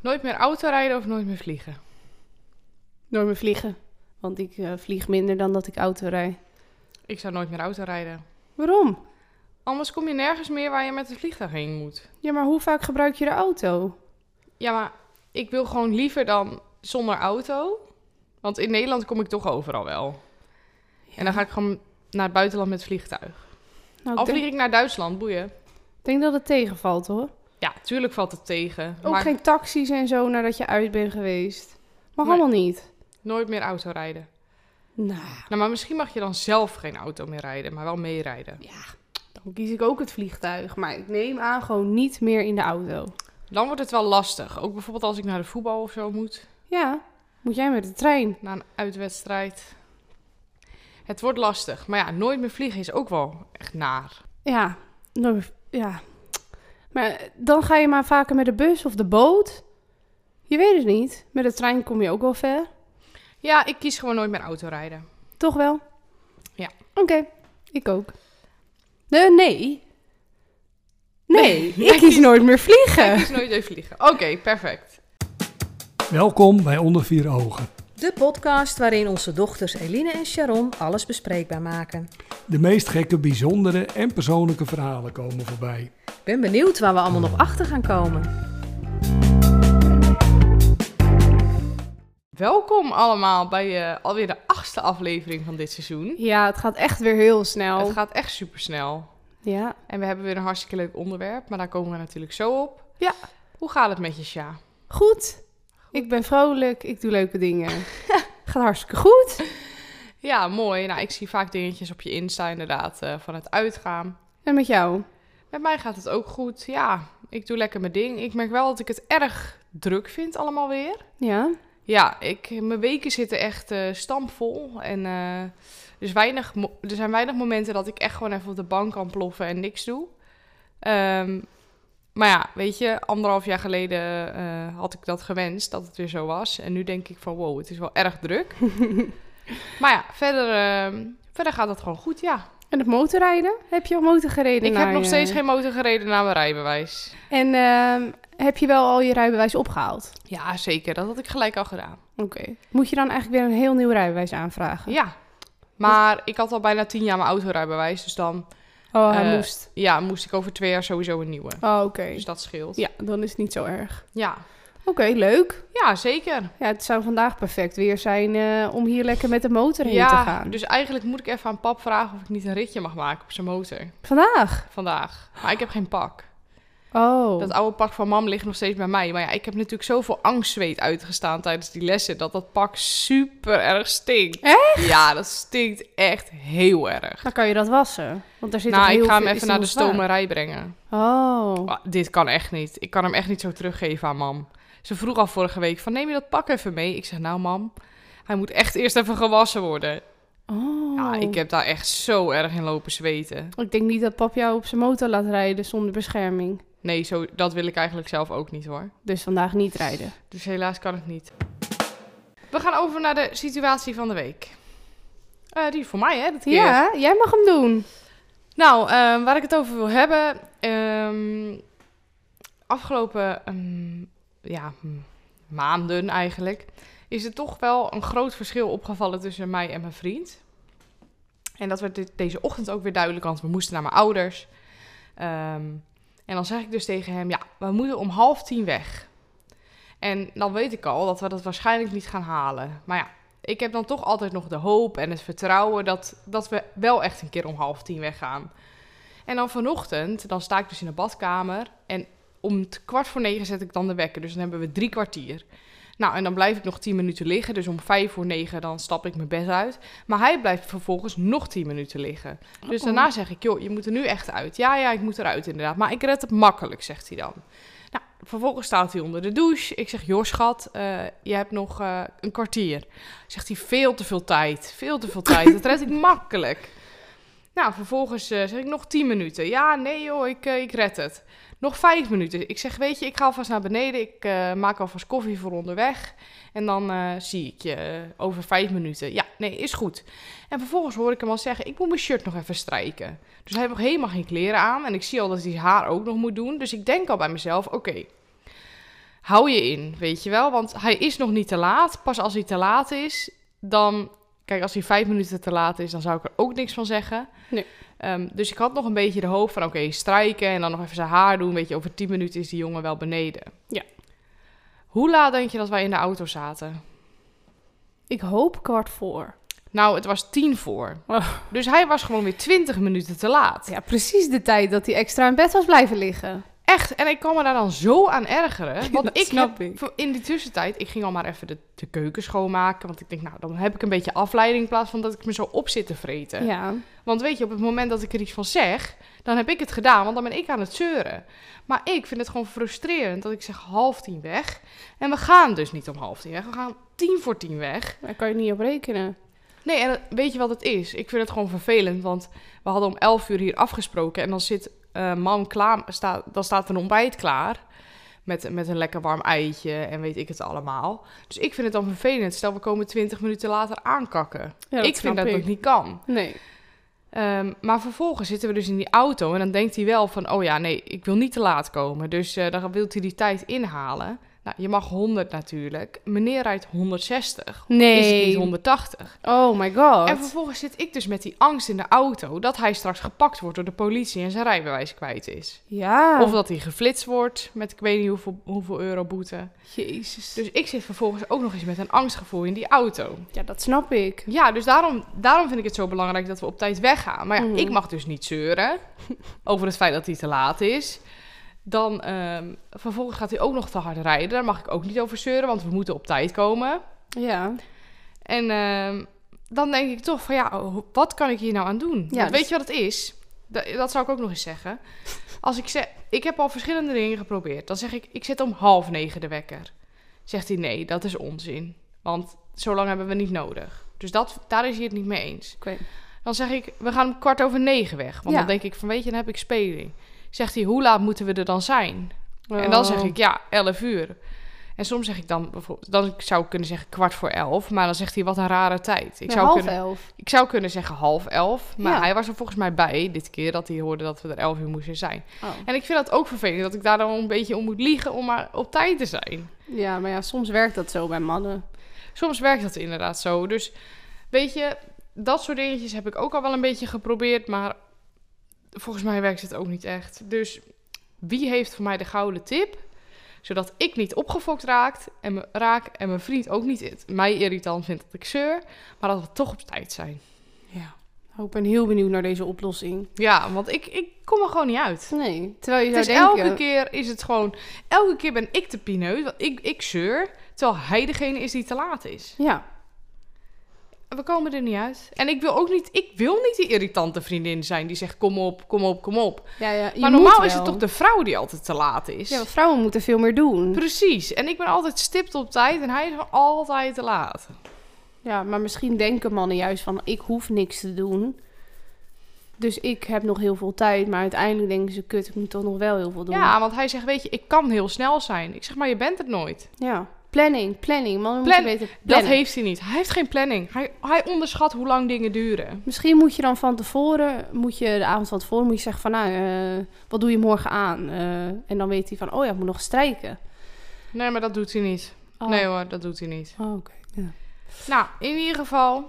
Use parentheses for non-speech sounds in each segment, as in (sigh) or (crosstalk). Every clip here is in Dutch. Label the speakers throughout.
Speaker 1: Nooit meer auto rijden of nooit meer vliegen?
Speaker 2: Door me vliegen. Want ik eh, vlieg minder dan dat ik auto rij.
Speaker 1: Ik zou nooit meer auto rijden.
Speaker 2: Waarom?
Speaker 1: Anders kom je nergens meer waar je met het vliegtuig heen moet.
Speaker 2: Ja, maar hoe vaak gebruik je de auto? Nou,
Speaker 1: Ja, maar ik wil gewoon liever dan zonder auto. Want in Nederland kom ik toch overal wel. En dan ga ik gewoon naar het buitenland met vliegtuig.
Speaker 2: Nou,
Speaker 1: Al
Speaker 2: ik
Speaker 1: vlieg
Speaker 2: denk,
Speaker 1: ik naar Duitsland, boeien.
Speaker 2: denk dat het tegenvalt hoor.
Speaker 1: Ja, tuurlijk valt het tegen.
Speaker 2: Ook
Speaker 1: maar
Speaker 2: geen taxis en zo nadat je uit bent geweest. Mag
Speaker 1: Nee.
Speaker 2: allemaal niet.
Speaker 1: nooit meer auto rijden.
Speaker 2: Nou,
Speaker 1: Nou, maar misschien mag je dan zelf geen auto meer rijden, maar wel meerijden.
Speaker 2: ja. Dan kies ik ook het vliegtuig. Maar ik neem aan gewoon niet meer in de auto.
Speaker 1: Dan wordt het wel lastig. Ook bijvoorbeeld als ik naar de voetbal of zo moet.
Speaker 2: Ja, moet jij met de trein?
Speaker 1: na een uitwedstrijd. Het wordt lastig. Maar ja, nooit meer vliegen is ook wel echt naar.
Speaker 2: Ja, nou, ja. Maar dan ga je maar vaker met de bus of de boot. Je weet het niet. Met de trein kom je ook wel ver.
Speaker 1: Ja, ik kies gewoon nooit meer autorijden.
Speaker 2: Toch wel?
Speaker 1: Ja.
Speaker 2: Oké, ik ook. Eh, Nee, nee. Nee, (laughs) ik kies nooit meer
Speaker 1: Ik
Speaker 2: vliegen.
Speaker 1: kies nooit meer vliegen. Oké, perfect.
Speaker 3: Welkom bij Onder Vier Ogen,
Speaker 4: De podcast waarin onze dochters Eline en Sharon alles bespreekbaar maken.
Speaker 3: de meest gekke, bijzondere en persoonlijke verhalen komen voorbij.
Speaker 4: Ik ben benieuwd waar we allemaal nog achter gaan komen.
Speaker 1: Welkom allemaal bij eh, alweer de achtste aflevering van dit seizoen.
Speaker 2: Ja, het gaat echt weer heel snel.
Speaker 1: Het gaat echt super snel.
Speaker 2: Ja.
Speaker 1: En we hebben weer een hartstikke leuk onderwerp, maar daar komen we natuurlijk zo op.
Speaker 2: Ja.
Speaker 1: Hoe gaat het met je, Sja?
Speaker 2: Goed. Ik ben vrolijk. Ik doe leuke (laughs) dingen. gaat hartstikke goed.
Speaker 1: Ja, mooi. Nou, ik zie vaak dingetjes op je Insta inderdaad eh, van het uitgaan.
Speaker 2: En met jou?
Speaker 1: Met mij gaat het ook goed. Ja, ik doe lekker mijn ding. Ik merk wel dat ik het erg druk vind allemaal weer.
Speaker 2: Ja.
Speaker 1: Ja, ik, mijn weken zitten echt eh stampvol. En eh, dus weinig, mo- er zijn weinig momenten dat ik echt gewoon even op de bank kan ploffen en niks doe. Ehm, maar ja, weet je, anderhalf jaar geleden eh, had ik dat gewenst, dat het weer zo was. En nu denk ik van wow, het is wel erg druk. maar ja, verder, ehm, verder gaat het gewoon goed, ja.
Speaker 2: En het motorrijden? Heb je al motor gereden?
Speaker 1: Ik
Speaker 2: naar
Speaker 1: heb nog
Speaker 2: je-
Speaker 1: steeds geen motor gereden naar mijn rijbewijs.
Speaker 2: En ehm, heb je wel al je rijbewijs opgehaald?
Speaker 1: Ja, zeker. Dat had ik gelijk al gedaan.
Speaker 2: Oké. Moet je dan eigenlijk weer een heel nieuw rijbewijs aanvragen?
Speaker 1: Ja. Maar ik had al bijna tien jaar mijn autorijbewijs. Dus dan
Speaker 2: Oh, hij
Speaker 1: Eh,
Speaker 2: moest.
Speaker 1: ja, moest ik over twee jaar sowieso een nieuwe.
Speaker 2: Oh, oké.
Speaker 1: Dus dat scheelt.
Speaker 2: Ja, dan is het niet zo erg.
Speaker 1: Ja,
Speaker 2: Oké, leuk.
Speaker 1: ja zeker.
Speaker 2: Ja, het zou vandaag perfect weer zijn eh, om hier lekker met de motor heen
Speaker 1: ja,
Speaker 2: te gaan.
Speaker 1: dus eigenlijk moet ik even aan pap vragen of ik niet een ritje mag maken op zijn motor
Speaker 2: Vandaag?
Speaker 1: vandaag. Maar ik heb geen pak.
Speaker 2: Oh.
Speaker 1: Dat oude pak van mam ligt nog steeds bij mij. Maar ja, ik heb natuurlijk zoveel angstzweet uitgestaan tijdens die lessen dat dat pak super erg stinkt. Echt? Ja, dat stinkt echt heel erg.
Speaker 2: Dan kan je dat wassen. Want daar zit toch
Speaker 1: nou,
Speaker 2: heel
Speaker 1: ik ga hem
Speaker 2: veel-
Speaker 1: even
Speaker 2: is
Speaker 1: naar de
Speaker 2: heel zwaar.
Speaker 1: stomerij brengen.
Speaker 2: Oh.
Speaker 1: Ah, dit kan echt niet. Ik kan hem echt niet zo teruggeven aan mam. Ze vroeg al vorige week van neem je dat pak even mee? Ik zeg nou mam, hij moet echt eerst even gewassen worden.
Speaker 2: oh.
Speaker 1: Ja, ik eh- heb daar echt zo erg in lopen zweten.
Speaker 2: Ik denk niet dat pap jou op zijn motor laat rijden zonder bescherming.
Speaker 1: Nee, zo, dat wil ik eigenlijk zelf ook niet hoor.
Speaker 2: Dus vandaag niet rijden.
Speaker 1: Dus helaas kan het niet. We gaan over naar de situatie van de week. Eh, die is voor mij hè, dit keer.
Speaker 2: Ja, jij mag hem doen.
Speaker 1: Nou, ehm, waar ik het over wil hebben. ehm, afgelopen ehm, ja, m- maanden eigenlijk. Is er toch wel een groot verschil opgevallen tussen mij en mijn vriend. En dat werd dit- deze ochtend ook weer duidelijk, want we moesten naar mijn ouders. Ehm, en dan zeg ik dus tegen hem: Ja, we moeten om half tien weg. En dan weet ik al dat we dat waarschijnlijk niet gaan halen. Maar ja, ik heb dan toch altijd nog de hoop en het vertrouwen dat, dat we wel echt een keer om half tien weggaan. En dan vanochtend, dan sta ik dus in de badkamer en om het kwart voor negen zet ik dan de wekker. Dus dan hebben we drie kwartier. Nou, en dan blijf ik nog tien minuten liggen. Dus om vijf voor negen dan stap ik mijn bed uit. Maar hij blijft vervolgens nog tien minuten liggen. Dus
Speaker 2: Oh.
Speaker 1: daarna zeg ik, joh, je moet er nu echt uit. Ja, ja, ik moet eruit inderdaad. Maar ik red het makkelijk, zegt hij dan. Nou, vervolgens staat hij onder de douche. Ik zeg, joh schat, eh, je hebt nog eh, een kwartier. Zegt hij, veel te veel tijd. Veel te veel tijd. Dat red ik makkelijk. Nou, vervolgens eh, zeg ik nog 10 minuten. Ja, nee joh, ik, eh, ik red het. Nog 5 minuten. Ik zeg, weet je, ik ga alvast naar beneden. Ik eh, maak alvast koffie voor onderweg. En dan eh, zie ik je eh, over 5 minuten. Ja, nee, is goed. En vervolgens hoor ik hem al zeggen, ik moet mijn shirt nog even strijken. Dus hij heeft nog helemaal geen kleren aan. En ik zie al dat hij zijn haar ook nog moet doen. Dus ik denk al bij mezelf, oké. hou je in, weet je wel. Want hij is nog niet te laat. Pas als hij te laat is, dan... Kijk, als hij vijf minuten te laat is, dan zou ik er ook niks van zeggen.
Speaker 2: Nee.
Speaker 1: Ehm, dus ik had nog een beetje de hoop van, oké, strijken en dan nog even zijn haar doen. Weet je, over tien minuten is die jongen wel beneden.
Speaker 2: Ja.
Speaker 1: Hoe laat denk je dat wij in de auto zaten?
Speaker 2: Ik hoop kwart voor.
Speaker 1: Nou, het was tien voor.
Speaker 2: Oh.
Speaker 1: Dus hij was gewoon weer twintig minuten te laat.
Speaker 2: Ja, precies de tijd dat hij extra in bed was blijven liggen.
Speaker 1: Echt, en ik kan me daar dan zo aan
Speaker 2: (laughs)
Speaker 1: ergeren. Want
Speaker 2: Dat
Speaker 1: ik
Speaker 2: snap
Speaker 1: heb
Speaker 2: ik.
Speaker 1: voor- in die tussentijd, ik ging al maar even de, de keuken schoonmaken. Want ik denk, nou, dan heb ik een beetje afleiding in plaats van dat ik me zo op zit te vreten.
Speaker 2: Ja.
Speaker 1: Want weet je, op het moment dat ik er iets van zeg, dan heb ik het gedaan, want dan ben ik aan het zeuren. Maar ik vind het gewoon frustrerend dat ik zeg half tien weg. En we gaan dus niet om half tien weg, we gaan tien voor tien weg.
Speaker 2: Daar kan je niet op rekenen.
Speaker 1: Nee, en weet je wat het is? Ik vind het gewoon vervelend, want we hadden om 11 uur hier afgesproken en dan zit eh mam klaar, staat, dan staat een ontbijt klaar. Met, met een lekker warm eitje en weet ik het allemaal. Dus ik vind het dan vervelend. Stel, we komen 20 minuten later aankakken.
Speaker 2: Ja, dat
Speaker 1: ik
Speaker 2: snap
Speaker 1: vind dat
Speaker 2: ik.
Speaker 1: dat niet kan.
Speaker 2: Nee.
Speaker 1: Ehm, maar vervolgens zitten we dus in die auto en dan denkt hij wel van... oh ja, nee, ik wil niet te laat komen. Dus eh, dan wil hij die tijd inhalen. Nou, je mag 100 natuurlijk. Meneer rijdt 160. Is het niet 180?
Speaker 2: Oh my god.
Speaker 1: En vervolgens zit ik dus met die angst in de auto dat hij straks gepakt wordt door de politie en zijn rijbewijs kwijt is.
Speaker 2: Ja.
Speaker 1: Of dat hij geflitst wordt met ik weet niet hoeveel, hoeveel euro boete.
Speaker 2: Jezus.
Speaker 1: Dus ik zit vervolgens ook nog eens met een angstgevoel in die auto.
Speaker 2: Ja, dat snap ik.
Speaker 1: Ja, dus daarom, daarom vind ik het zo belangrijk dat we op tijd weggaan. Maar ja,
Speaker 2: Mhm.
Speaker 1: ik mag dus niet zeuren over het feit dat hij te laat is. Dan ehm, vervolgens gaat hij ook nog te hard rijden. Daar mag ik ook niet over zeuren, want we moeten op tijd komen.
Speaker 2: Ja.
Speaker 1: En ehm, dan denk ik toch van ja, oh, wat kan ik hier nou aan doen?
Speaker 2: Ja,
Speaker 1: Want
Speaker 2: dus-
Speaker 1: weet je wat het is? Da- Dat, zou ik ook nog eens
Speaker 2: (laughs)
Speaker 1: zeggen. Als ik zeg, ik heb al verschillende dingen geprobeerd. Dan zeg ik, ik zet om half negen de wekker. Zegt hij nee, dat is onzin. Want zo lang hebben we niet nodig. Dus dat, daar is hij het niet mee eens.
Speaker 2: Oké.
Speaker 1: Dan zeg ik, we gaan om kwart over negen weg. Want
Speaker 2: Ja.
Speaker 1: dan denk ik van, weet je, dan heb ik speling. Zegt hij, hoe laat moeten we er dan zijn? En dan
Speaker 2: Oh.
Speaker 1: zeg ik, ja, 11 uur. En soms zeg ik dan bijvoorbeeld, dan zou ik kunnen zeggen kwart voor elf, maar dan zegt hij wat een rare tijd. Ik,
Speaker 2: Ja,
Speaker 1: zou,
Speaker 2: half
Speaker 1: kunnen,
Speaker 2: elf.
Speaker 1: ik zou kunnen zeggen half elf, maar
Speaker 2: Ja.
Speaker 1: hij was er volgens mij bij dit keer dat hij hoorde dat we er 11 uur moesten zijn.
Speaker 2: Oh.
Speaker 1: En ik vind dat ook vervelend dat ik daar dan een beetje om moet liegen om maar op tijd te zijn.
Speaker 2: Ja, maar ja, soms werkt dat zo bij mannen.
Speaker 1: Soms werkt dat inderdaad zo. Dus weet je, dat soort dingetjes heb ik ook al wel een beetje geprobeerd, maar volgens mij werkt het ook niet echt. Dus wie heeft voor mij de gouden tip? Zodat ik niet opgefokt raakt en me, raak en mijn vriend ook niet it- mij irritant vindt dat ik zeur, maar dat we toch op tijd zijn.
Speaker 2: Ja. Oh, ik ben heel benieuwd naar deze oplossing.
Speaker 1: Ja, want ik, ik kom er gewoon niet uit.
Speaker 2: Nee. Terwijl je
Speaker 1: Dus
Speaker 2: zou denken...
Speaker 1: elke keer is het gewoon, elke keer ben ik de pineut, want ik, ik zeur, terwijl hij degene is die te laat is.
Speaker 2: Ja.
Speaker 1: We komen er niet uit. En ik wil ook niet, ik wil niet die irritante vriendin zijn die zegt: kom op, kom op, kom op.
Speaker 2: ja, ja je
Speaker 1: maar
Speaker 2: moet
Speaker 1: normaal is
Speaker 2: wel.
Speaker 1: het toch de vrouw die altijd te laat is?
Speaker 2: Ja, want vrouwen moeten veel meer doen.
Speaker 1: Precies. En ik ben altijd stipt op tijd en hij is gewoon altijd te laat.
Speaker 2: Ja, maar misschien denken mannen juist van ik hoef niks te doen. Dus ik heb nog heel veel tijd, maar uiteindelijk denken ze kut, ik moet toch nog wel heel veel doen.
Speaker 1: Ja, want hij zegt: Weet je, ik kan heel snel zijn. Ik zeg: Maar je bent het nooit.
Speaker 2: Ja. Planning, planning. Mannen
Speaker 1: Plan-
Speaker 2: moeten weten
Speaker 1: Dat
Speaker 2: plannen.
Speaker 1: heeft hij niet. Hij heeft geen planning. Hij, hij onderschat hoe lang dingen duren.
Speaker 2: Misschien moet je dan van tevoren, moet je de avond van tevoren, moet je zeggen van nou, eh, wat doe je morgen aan? Eh, en dan weet hij van, oh ja, ik moet nog strijken.
Speaker 1: Nee, maar dat doet hij niet.
Speaker 2: Oh.
Speaker 1: Nee hoor, dat doet hij niet.
Speaker 2: Oh, oké. Ja.
Speaker 1: Nou, in ieder geval.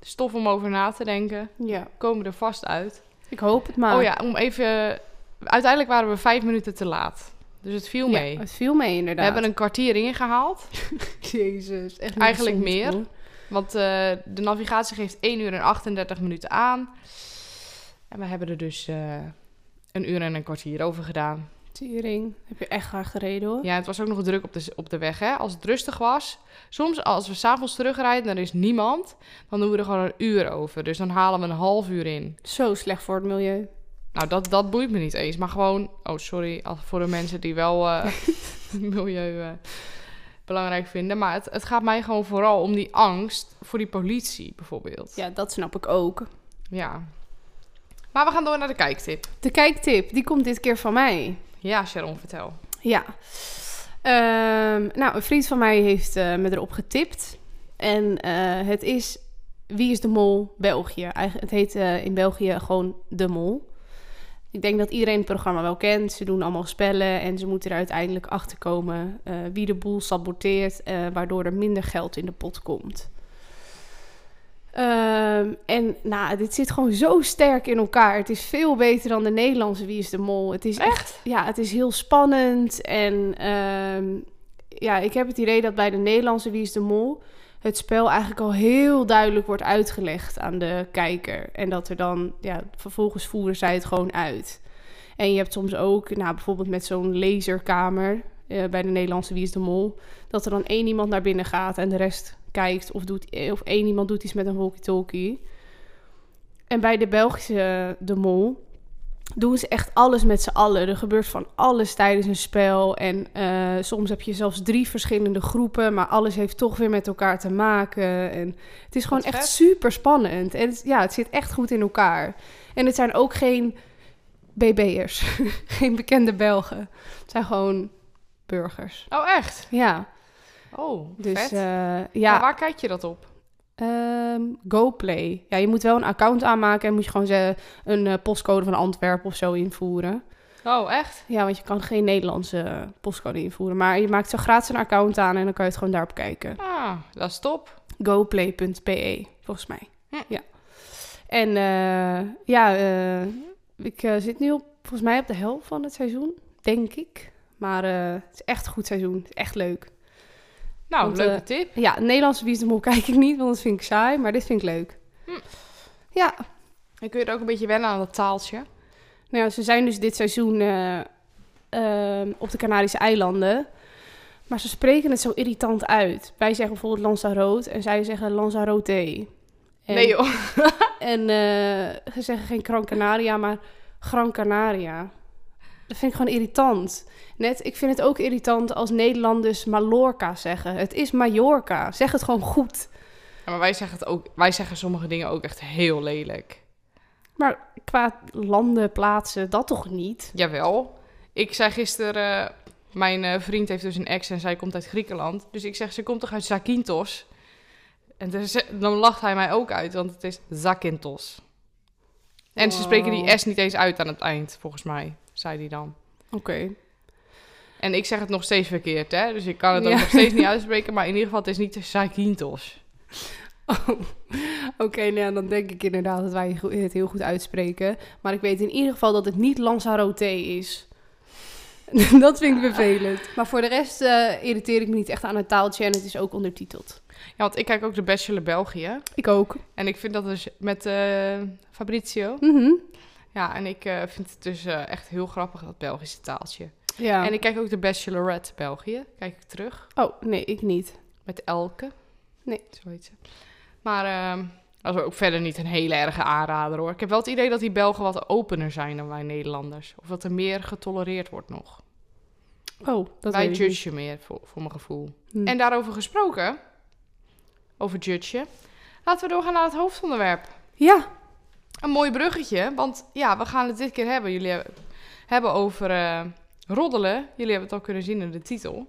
Speaker 1: Stof om over na te denken.
Speaker 2: ja,
Speaker 1: Komen we er vast uit.
Speaker 2: ik hoop het maar.
Speaker 1: Oh ja, om even. Uiteindelijk waren we vijf minuten te laat. Dus het viel
Speaker 2: Ja,
Speaker 1: mee.
Speaker 2: het viel mee
Speaker 1: we
Speaker 2: inderdaad.
Speaker 1: hebben een kwartier ingehaald.
Speaker 2: (laughs) Jezus, echt
Speaker 1: niet Eigenlijk
Speaker 2: gezond,
Speaker 1: meer.
Speaker 2: hoor.
Speaker 1: Want eh, de navigatie geeft 1 uur en 38 minuten aan. En we hebben er dus eh, een uur en een kwartier over gedaan.
Speaker 2: Tering, heb je echt graag gereden hoor.
Speaker 1: Ja, het was ook nog druk op de, op de weg. Hè? Als het rustig was. Soms als we s'avonds terugrijden en er is niemand. Dan doen we er gewoon een uur over. Dus dan halen we een half uur in.
Speaker 2: Zo slecht voor het milieu.
Speaker 1: Nou, dat, dat boeit me niet eens. Maar gewoon, oh sorry als- voor de mensen die wel eh, (laughs) milieu eh, belangrijk vinden. Maar het, het gaat mij gewoon vooral om die angst voor die politie bijvoorbeeld. Ja.
Speaker 2: Ja, dat snap ik ook.
Speaker 1: Maar we gaan door naar de kijktip.
Speaker 2: De kijktip, die komt dit keer van mij.
Speaker 1: Ja, Sharon, vertel.
Speaker 2: Ja. Ehm, nou, een vriend van mij heeft eh, me erop getipt. En eh, het is Wie is de Mol België. Eigen- het heet eh, in België gewoon De Mol. Ik denk dat iedereen het programma wel kent. Ze doen allemaal spellen en ze moeten er uiteindelijk achter komen eh, wie de boel saboteert, eh, waardoor er minder geld in de pot komt. Ehm, en nou, dit zit gewoon zo sterk in elkaar. Het is veel beter dan de Nederlandse Wie is de Mol. Het is echt, ja, het is heel spannend. En ehm, ja, ik heb het idee dat bij de Nederlandse Wie is de Mol het spel eigenlijk al heel duidelijk wordt uitgelegd aan de kijker. En dat er dan, ja, vervolgens voeren zij het gewoon uit. En je hebt soms ook, nou, bijvoorbeeld met zo'n laserkamer eh, bij de Nederlandse Wie is de Mol, dat er dan één iemand naar binnen gaat en de rest kijkt of, doet, eh, of één iemand doet iets met een walkie-talkie. En bij de Belgische eh, De Mol doen ze echt alles met z'n allen. Er gebeurt van alles tijdens een spel. En eh, soms heb je zelfs drie verschillende groepen, maar alles heeft toch weer met elkaar te maken. En het is gewoon
Speaker 1: Wat
Speaker 2: echt
Speaker 1: vet.
Speaker 2: super spannend. En het, ja, het zit echt goed in elkaar. En het zijn ook geen BB'ers, (laughs) geen bekende Belgen. Het zijn gewoon burgers.
Speaker 1: Oh, echt?
Speaker 2: Ja,
Speaker 1: Oh,
Speaker 2: dus
Speaker 1: vet.
Speaker 2: eh,
Speaker 1: Maar
Speaker 2: ja,
Speaker 1: waar kijk je dat op?
Speaker 2: Ehm GoPlay. Ja, je moet wel een account aanmaken en moet je gewoon ze- een eh, postcode van Antwerpen of zo invoeren.
Speaker 1: Oh, echt?
Speaker 2: Ja, want je kan geen Nederlandse eh, postcode invoeren, maar je maakt zo gratis een account aan en dan kan je het gewoon daarop kijken.
Speaker 1: Ah, dat is top.
Speaker 2: GoPlay.pe, volgens mij.
Speaker 1: Hm.
Speaker 2: Ja. En eh, ja, eh, ik eh, zit nu op, volgens mij op de helft van het seizoen, denk ik. Maar eh, het is echt een goed seizoen, het is echt leuk.
Speaker 1: Nou,
Speaker 2: Want,
Speaker 1: leuke
Speaker 2: eh,
Speaker 1: tip.
Speaker 2: Ja, Nederlandse Wie is de Mol (laughs) kijk ik niet, want dat vind ik saai. Maar dit vind ik leuk.
Speaker 1: Hm.
Speaker 2: Ja,
Speaker 1: En kun je er ook een beetje wennen aan dat taaltje?
Speaker 2: nou ja, ze zijn dus dit seizoen eh, ehm, op de Canarische eilanden. Maar ze spreken het zo irritant uit. Wij zeggen bijvoorbeeld Lanzarote en zij zeggen Lanzarote. En,
Speaker 1: Nee joh.
Speaker 2: En eh, ze zeggen geen Gran Canaria, maar Gran Canaria. Dat vind ik gewoon irritant. Net, ik vind het ook irritant als Nederlanders Mallorca zeggen. Het is Mallorca. Zeg het gewoon goed.
Speaker 1: Ja, maar wij zeggen, het ook, wij zeggen sommige dingen ook echt heel lelijk.
Speaker 2: Maar qua landen, plaatsen, dat toch niet?
Speaker 1: Jawel. Ik zei gisteren... eh, mijn eh, vriend heeft dus een ex en zij komt uit Griekenland. Dus ik zeg, ze komt toch uit Zakynthos? En dus, dan lacht hij mij ook uit, want het is Zakynthos. En ze spreken die
Speaker 2: Wow.
Speaker 1: S niet eens uit aan het eind, volgens mij, zei hij dan.
Speaker 2: Oké.
Speaker 1: En ik zeg het nog steeds verkeerd, hè? Dus ik kan het
Speaker 2: Ja.
Speaker 1: ook nog steeds niet uitspreken. Maar in ieder geval, het is niet Zakynthos.
Speaker 2: Oh. (laughs) Oké, nou ja, dan denk ik inderdaad dat wij go- het heel goed uitspreken. Maar ik weet in ieder geval dat het niet Lanzarote is. (laughs) dat vind ik vervelend. Maar voor de rest eh, irriteer ik me niet echt aan het taaltje en het is ook ondertiteld.
Speaker 1: Ja, want ik kijk ook de Bachelor België.
Speaker 2: Ik ook.
Speaker 1: En ik vind dat dus met eh, Fabrizio.
Speaker 2: Mhm.
Speaker 1: Ja, en ik eh, vind het dus eh, echt heel grappig, dat Belgische taaltje.
Speaker 2: Ja.
Speaker 1: En ik kijk ook de Bachelorette België. Kijk ik terug.
Speaker 2: Oh, nee, ik niet.
Speaker 1: Met Elke.
Speaker 2: Nee.
Speaker 1: Zo heet ze. Maar ehm, dat is ook verder niet een hele erge aanrader hoor. Ik heb wel het idee dat die Belgen wat opener zijn dan wij Nederlanders. Of dat er meer getolereerd wordt nog.
Speaker 2: Oh, dat
Speaker 1: wij
Speaker 2: weet ik niet.
Speaker 1: judgen meer, voor, voor mijn gevoel.
Speaker 2: Hm.
Speaker 1: En daarover gesproken, over judgen, laten we doorgaan naar het hoofdonderwerp.
Speaker 2: Ja,
Speaker 1: Een mooi bruggetje, want ja, we gaan het dit keer hebben. Jullie hebben- hebben over eh, roddelen. Jullie hebben het al kunnen zien in de titel.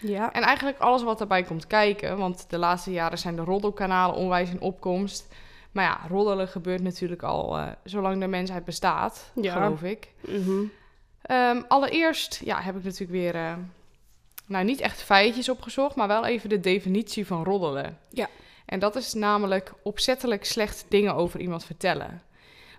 Speaker 2: ja.
Speaker 1: En eigenlijk alles wat daarbij komt kijken, want de laatste jaren zijn de roddelkanalen onwijs in opkomst. Maar ja, roddelen gebeurt natuurlijk al eh, zolang de mensheid bestaat,
Speaker 2: Ja.
Speaker 1: geloof ik.
Speaker 2: Mhm.
Speaker 1: Ehm, allereerst ja, heb ik natuurlijk weer, eh, nou niet echt feitjes opgezocht, maar wel even de definitie van roddelen.
Speaker 2: Ja.
Speaker 1: En dat is namelijk opzettelijk slecht dingen over iemand vertellen.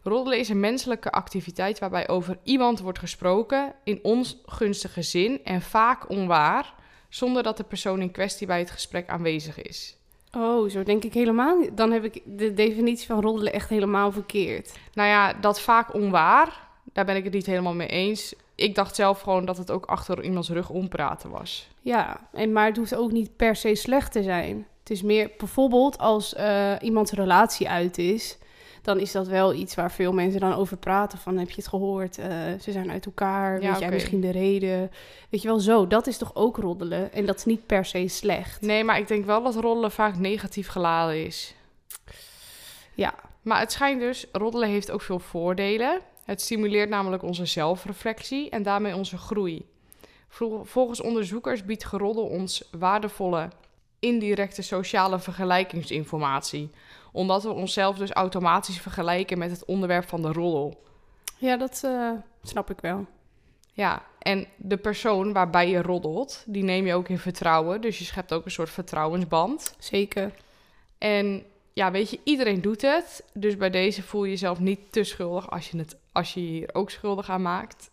Speaker 1: Roddelen is een menselijke activiteit waarbij over iemand wordt gesproken in ongunstige zin en vaak onwaar, zonder dat de persoon in kwestie bij het gesprek aanwezig is.
Speaker 2: Oh, zo denk ik helemaal niet. Dan heb ik de definitie van roddelen echt helemaal verkeerd.
Speaker 1: Nou ja, dat vaak onwaar, daar ben ik het niet helemaal mee eens. Ik dacht zelf gewoon dat het ook achter iemands rug ompraten was.
Speaker 2: Ja, en, maar het hoeft ook niet per se slecht te zijn. Het is meer bijvoorbeeld als eh, iemands relatie uit is, dan is dat wel iets waar veel mensen dan over praten. Van heb je het gehoord? Eh, ze zijn uit elkaar.
Speaker 1: Ja,
Speaker 2: weet jij
Speaker 1: oké.
Speaker 2: misschien de reden? Weet je wel, zo. Dat is toch ook roddelen? En dat is niet per se slecht.
Speaker 1: Nee, maar ik denk wel dat roddelen vaak negatief geladen is.
Speaker 2: Ja.
Speaker 1: Maar het schijnt dus, roddelen heeft ook veel voordelen. Het stimuleert namelijk onze zelfreflectie en daarmee onze groei. Vro- Volgens onderzoekers biedt geroddel ons waardevolle indirecte sociale vergelijkingsinformatie. Omdat we onszelf dus automatisch vergelijken met het onderwerp van de roddel.
Speaker 2: Ja, dat eh, snap ik wel.
Speaker 1: Ja, en de persoon waarbij je roddelt, die neem je ook in vertrouwen. Dus je schept ook een soort vertrouwensband.
Speaker 2: Zeker.
Speaker 1: En ja, weet je, iedereen doet het. Dus bij deze voel je jezelf niet te schuldig als je, het, als je je hier ook schuldig aan maakt.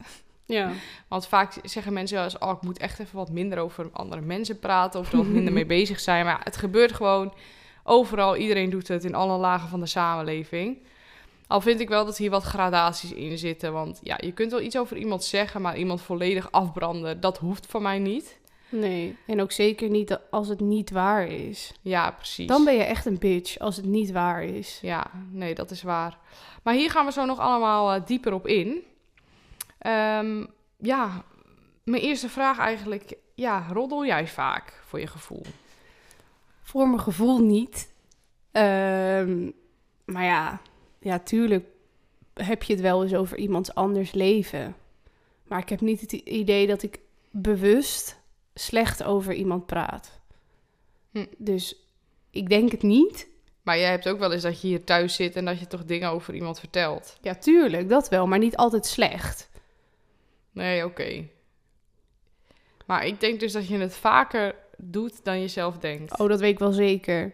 Speaker 2: Ja.
Speaker 1: Want vaak zeggen mensen wel eens, oh, ik moet echt even wat minder over andere mensen praten of er wat minder mee bezig zijn. Maar ja, het gebeurt gewoon overal. Iedereen doet het in alle lagen van de samenleving. Al vind ik wel dat hier wat gradaties in zitten. Want ja, je kunt wel iets over iemand zeggen, maar iemand volledig afbranden, dat hoeft van mij niet.
Speaker 2: Nee. En ook zeker niet als het niet waar is.
Speaker 1: Ja, precies.
Speaker 2: Dan ben je echt een bitch als het niet waar is.
Speaker 1: Ja, nee, dat is waar. Maar hier gaan we zo nog allemaal eh, dieper op in. Ehm, ja, mijn eerste vraag eigenlijk. Ja, roddel jij vaak voor je gevoel?
Speaker 2: Voor mijn gevoel niet. Ehm, maar ja, ja, tuurlijk heb je het wel eens over iemand anders leven. Maar ik heb niet het i- idee dat ik bewust slecht over iemand praat.
Speaker 1: Hm.
Speaker 2: Dus ik denk het niet.
Speaker 1: Maar jij hebt ook wel eens dat je hier thuis zit en dat je toch dingen over iemand vertelt.
Speaker 2: Ja, tuurlijk, dat wel, maar niet altijd slecht.
Speaker 1: Nee, oké. Maar ik denk dus dat je het vaker doet dan je zelf denkt.
Speaker 2: Oh, dat weet ik wel zeker.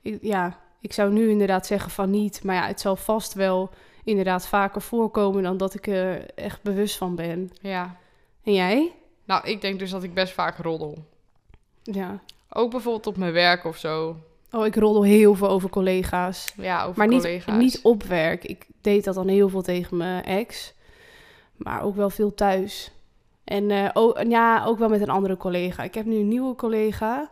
Speaker 2: Ik- ja, ik zou nu inderdaad zeggen van niet. Maar ja, het zal vast wel inderdaad vaker voorkomen dan dat ik er echt bewust van ben.
Speaker 1: Ja.
Speaker 2: En jij?
Speaker 1: Nou, ik denk dus dat ik best vaak roddel.
Speaker 2: Ja.
Speaker 1: Ook bijvoorbeeld op mijn werk of zo.
Speaker 2: Oh, ik roddel heel veel over collega's.
Speaker 1: Ja, over
Speaker 2: maar niet,
Speaker 1: collega's.
Speaker 2: niet
Speaker 1: (laughs)
Speaker 2: op werk. Ik deed dat dan heel veel tegen mijn ex. Maar ook wel veel thuis. En eh, ook, ja, ook wel met een andere collega. Ik heb nu een nieuwe collega.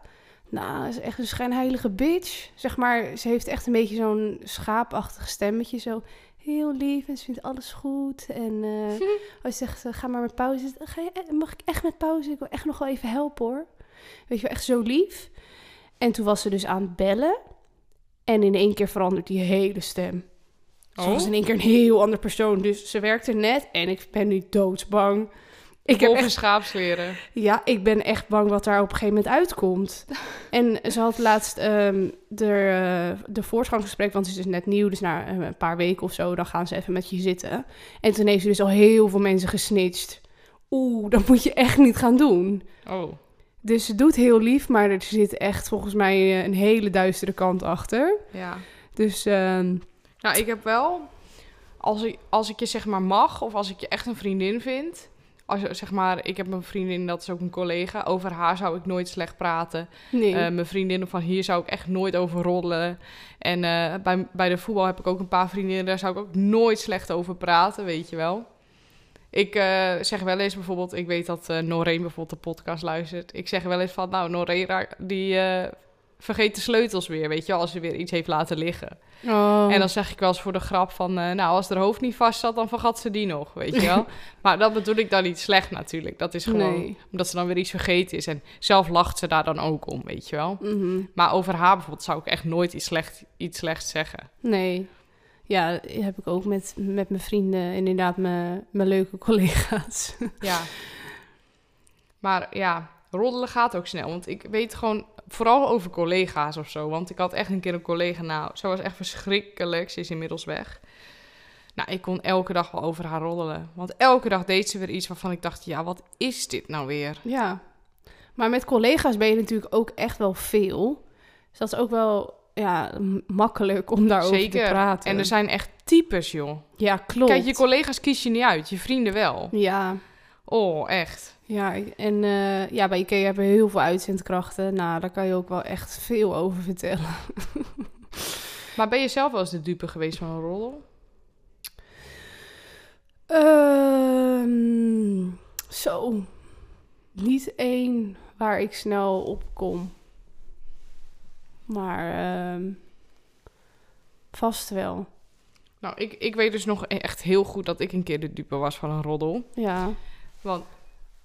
Speaker 2: Nou, is echt een schijnheilige bitch. Zeg maar, ze heeft echt een beetje zo'n schaapachtig stemmetje. Zo heel lief en ze vindt alles goed. En eh als ze zegt, eh, ga maar met pauze. Ga je, eh, mag ik echt met pauze? Ik wil echt nog wel even helpen hoor. Weet je wel, echt zo lief. En toen was ze dus aan het bellen. En in één keer verandert die hele stem. Ze was in één keer een heel ander persoon. Dus ze werkte net en ik ben nu doodsbang. Ik heb
Speaker 1: Vol
Speaker 2: echt
Speaker 1: van schaapsweren.
Speaker 2: ja, ik ben echt bang wat daar op een gegeven moment
Speaker 1: (laughs)
Speaker 2: uitkomt. En ze had laatst ehm, de, eh, de voortgangsgesprek, want ze is dus net nieuw, dus na eh, een paar weken of zo, dan gaan ze even met je zitten. En toen heeft ze dus al heel veel mensen gesnitcht. Oeh, dat moet je echt niet gaan doen.
Speaker 1: Oh.
Speaker 2: Dus ze doet heel lief, maar er zit echt volgens mij eh, een hele duistere kant achter.
Speaker 1: Ja.
Speaker 2: Dus ehm,
Speaker 1: Nou, ik heb wel, als ik, als ik je zeg maar mag, of als ik je echt een vriendin vind. Als, je- zeg maar, ik heb een vriendin, dat is ook een collega. Over haar zou ik nooit slecht praten.
Speaker 2: nee.
Speaker 1: Eh, mijn vriendinnen van hier zou ik echt nooit over roddelen. En eh, bij, bij de voetbal heb ik ook een paar vriendinnen, daar zou ik ook nooit slecht over praten, weet je wel. Ik eh, zeg wel eens bijvoorbeeld, ik weet dat eh Noreen bijvoorbeeld de podcast luistert. Ik zeg wel eens van, nou Noreen, raak- die eh, vergeet de sleutels weer, weet je wel, als ze weer iets heeft laten liggen.
Speaker 2: Oh.
Speaker 1: En dan zeg ik wel eens voor de grap van, eh, nou, als haar hoofd niet vast zat, dan vergat ze die nog, weet je
Speaker 2: (laughs)
Speaker 1: wel. maar dat bedoel ik dan niet slecht natuurlijk. Dat is gewoon
Speaker 2: Nee.
Speaker 1: omdat ze dan weer iets vergeten is. En zelf lacht ze daar dan ook om, weet je wel.
Speaker 2: Mhm.
Speaker 1: Maar over haar bijvoorbeeld zou ik echt nooit iets, slecht, iets slechts zeggen.
Speaker 2: Nee. Ja, heb ik ook met, met mijn vrienden, en inderdaad, mijn, mijn leuke (laughs) collega's.
Speaker 1: Ja. maar ja, roddelen gaat ook snel. Want ik weet gewoon, vooral over collega's of zo. Want ik had echt een keer een collega, nou, ze was echt verschrikkelijk. Ze is inmiddels weg. Nou, ik kon elke dag wel over haar roddelen. Want elke dag deed ze weer iets waarvan ik dacht, ja, wat is dit nou weer?
Speaker 2: Ja. Maar met collega's ben je natuurlijk ook echt wel veel. Dus dat is ook wel ja, m- makkelijk om daarover
Speaker 1: Zeker.
Speaker 2: te praten.
Speaker 1: En er zijn echt types, joh.
Speaker 2: Ja, klopt.
Speaker 1: Kijk, je collega's kies je niet uit, je vrienden wel.
Speaker 2: Ja,
Speaker 1: Oh, echt.
Speaker 2: ja. ik- En eh, ja, bij IKEA hebben we heel veel uitzendkrachten. Nou, daar kan je ook wel echt veel over vertellen.
Speaker 1: Maar ben je zelf wel eens de dupe geweest van een roddel?
Speaker 2: Ehm, zo. Niet één waar ik snel op kom. Maar ehm, vast wel.
Speaker 1: Nou, ik, ik weet dus nog echt heel goed dat ik een keer de dupe was van een roddel.
Speaker 2: Ja.
Speaker 1: Want,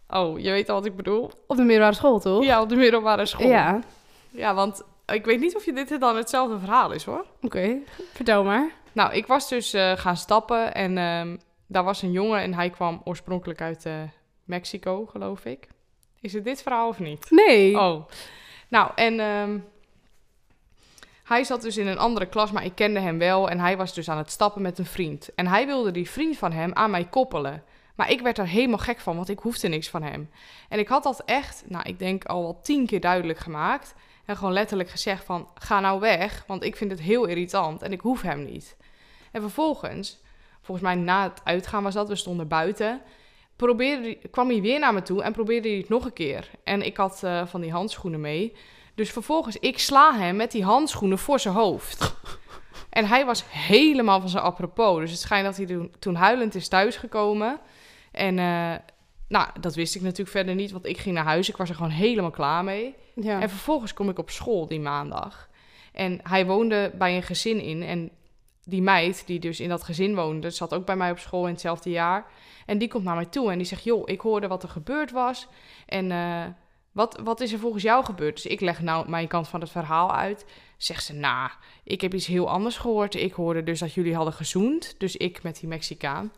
Speaker 1: oh, je weet al wat ik bedoel?
Speaker 2: Op de middelbare school, toch? Oh.
Speaker 1: Ja, op de middelbare school.
Speaker 2: Ja.
Speaker 1: Ja, want ik weet niet of je dit dan hetzelfde verhaal is, hoor.
Speaker 2: Oké, vertel maar.
Speaker 1: Nou, ik was dus eh, gaan stappen en ehm, daar was een jongen en hij kwam oorspronkelijk uit eh, Mexico, geloof ik.
Speaker 2: Oh.
Speaker 1: Is het dit verhaal of niet?
Speaker 2: Nee.
Speaker 1: Oh. Nou, en ehm, Hij zat dus in een andere klas, maar ik kende hem wel. En hij was dus aan het stappen met een vriend. En hij wilde die vriend van hem aan mij koppelen. Maar ik werd er helemaal gek van, want ik hoefde niks van hem. En ik had dat echt, nou, ik denk al wel tien keer duidelijk gemaakt. En gewoon letterlijk gezegd van, ga nou weg, want ik vind het heel irritant en ik hoef hem niet. En vervolgens, volgens mij na het uitgaan was dat, we stonden buiten... Probeerde, hij- kwam hij weer naar me toe en probeerde hij het nog een keer. En ik had eh, van die handschoenen mee. Dus vervolgens, ik sla hem met die handschoenen voor zijn hoofd. En hij was helemaal van zijn apropos. Dus het schijnt dat hij toen- toen huilend is thuisgekomen. En eh, nou, dat wist ik natuurlijk verder niet, want ik ging naar huis. Ik was er gewoon helemaal klaar mee.
Speaker 2: Ja.
Speaker 1: En vervolgens kom ik op school die maandag. En hij woonde bij een gezin in. En die meid, die dus in dat gezin woonde, zat ook bij mij op school in hetzelfde jaar. En die komt naar mij toe en die zegt: Joh, ik hoorde wat er gebeurd was. En eh, wat, wat is er volgens jou gebeurd? Dus ik leg nou mijn kant van het verhaal uit. Zegt ze: Nou, ik heb iets heel anders gehoord. Ik hoorde dus dat jullie hadden gezoend. Dus ik met die Mexicaan.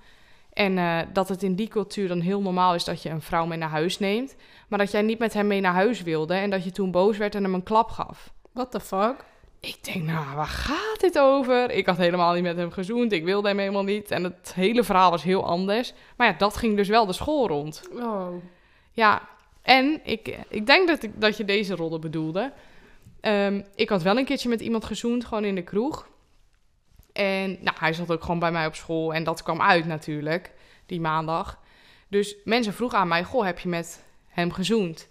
Speaker 1: En eh, dat het in die cultuur dan heel normaal is dat je een vrouw mee naar huis neemt. Maar dat jij niet met hem mee naar huis wilde. En dat je toen boos werd en hem een klap gaf.
Speaker 2: What the fuck?
Speaker 1: Ik denk, nou, waar gaat dit over? Ik had helemaal niet met hem gezoend. Ik wilde hem helemaal niet. En het hele verhaal was heel anders. Maar ja, dat ging dus wel de school rond.
Speaker 2: Oh.
Speaker 1: Ja, en ik, ik denk dat, ik, dat je deze rollen bedoelde. Ehm, ik had wel een keertje met iemand gezoend, gewoon in de kroeg. En nou, hij zat ook gewoon bij mij op school en dat kwam uit natuurlijk, die maandag. Dus mensen vroegen aan mij, goh, heb je met hem gezoend?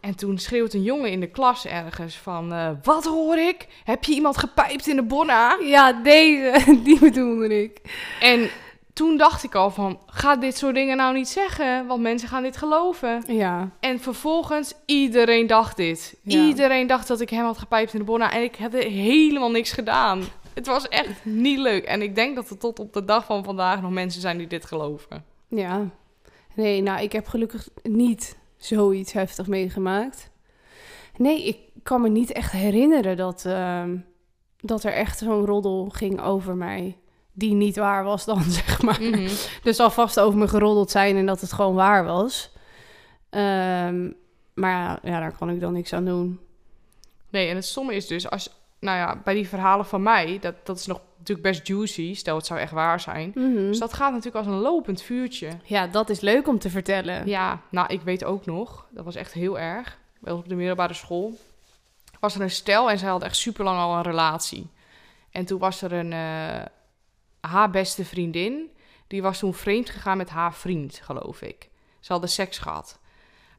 Speaker 1: En toen schreeuwt een jongen in de klas ergens van, eh, wat hoor ik? Heb je iemand gepijpt in de bonna?
Speaker 2: Ja, deze, (laughs) die bedoelde ik.
Speaker 1: En toen dacht ik al van, ga dit soort dingen nou niet zeggen, want mensen gaan dit geloven.
Speaker 2: Ja.
Speaker 1: En vervolgens, iedereen dacht dit.
Speaker 2: Ja.
Speaker 1: Iedereen dacht dat ik hem had gepijpt in de bonna. En ik heb helemaal niks gedaan. Het was echt niet leuk. En ik denk dat er tot op de dag van vandaag nog mensen zijn die dit geloven.
Speaker 2: Ja. Nee, nou, ik heb gelukkig niet zoiets heftig meegemaakt. Nee, ik kan me niet echt herinneren dat, ehm, dat er echt zo'n roddel ging over mij. Die niet waar was dan, (laughs) zeg maar.
Speaker 1: Mm.
Speaker 2: Dus zal vast over me geroddeld zijn en dat het gewoon waar was. Ehm, maar ja, ja, daar kan ik dan niks aan doen.
Speaker 1: (laughs) Nee, en het stomme is dus, als, nou ja, bij die verhalen van mij, dat, dat is nog natuurlijk best juicy. Stel, het zou echt waar zijn.
Speaker 2: Mhm.
Speaker 1: Dus dat gaat natuurlijk als een lopend vuurtje.
Speaker 2: Ja, dat is leuk om te vertellen.
Speaker 1: Ja, nou, ik weet ook nog. Dat was echt heel erg. Wel op de middelbare school. Was er een stel en zij had echt super lang al een relatie. En toen was er een. eh, haar beste vriendin. Die was toen vreemd gegaan met haar vriend, geloof ik. Ze hadden seks gehad.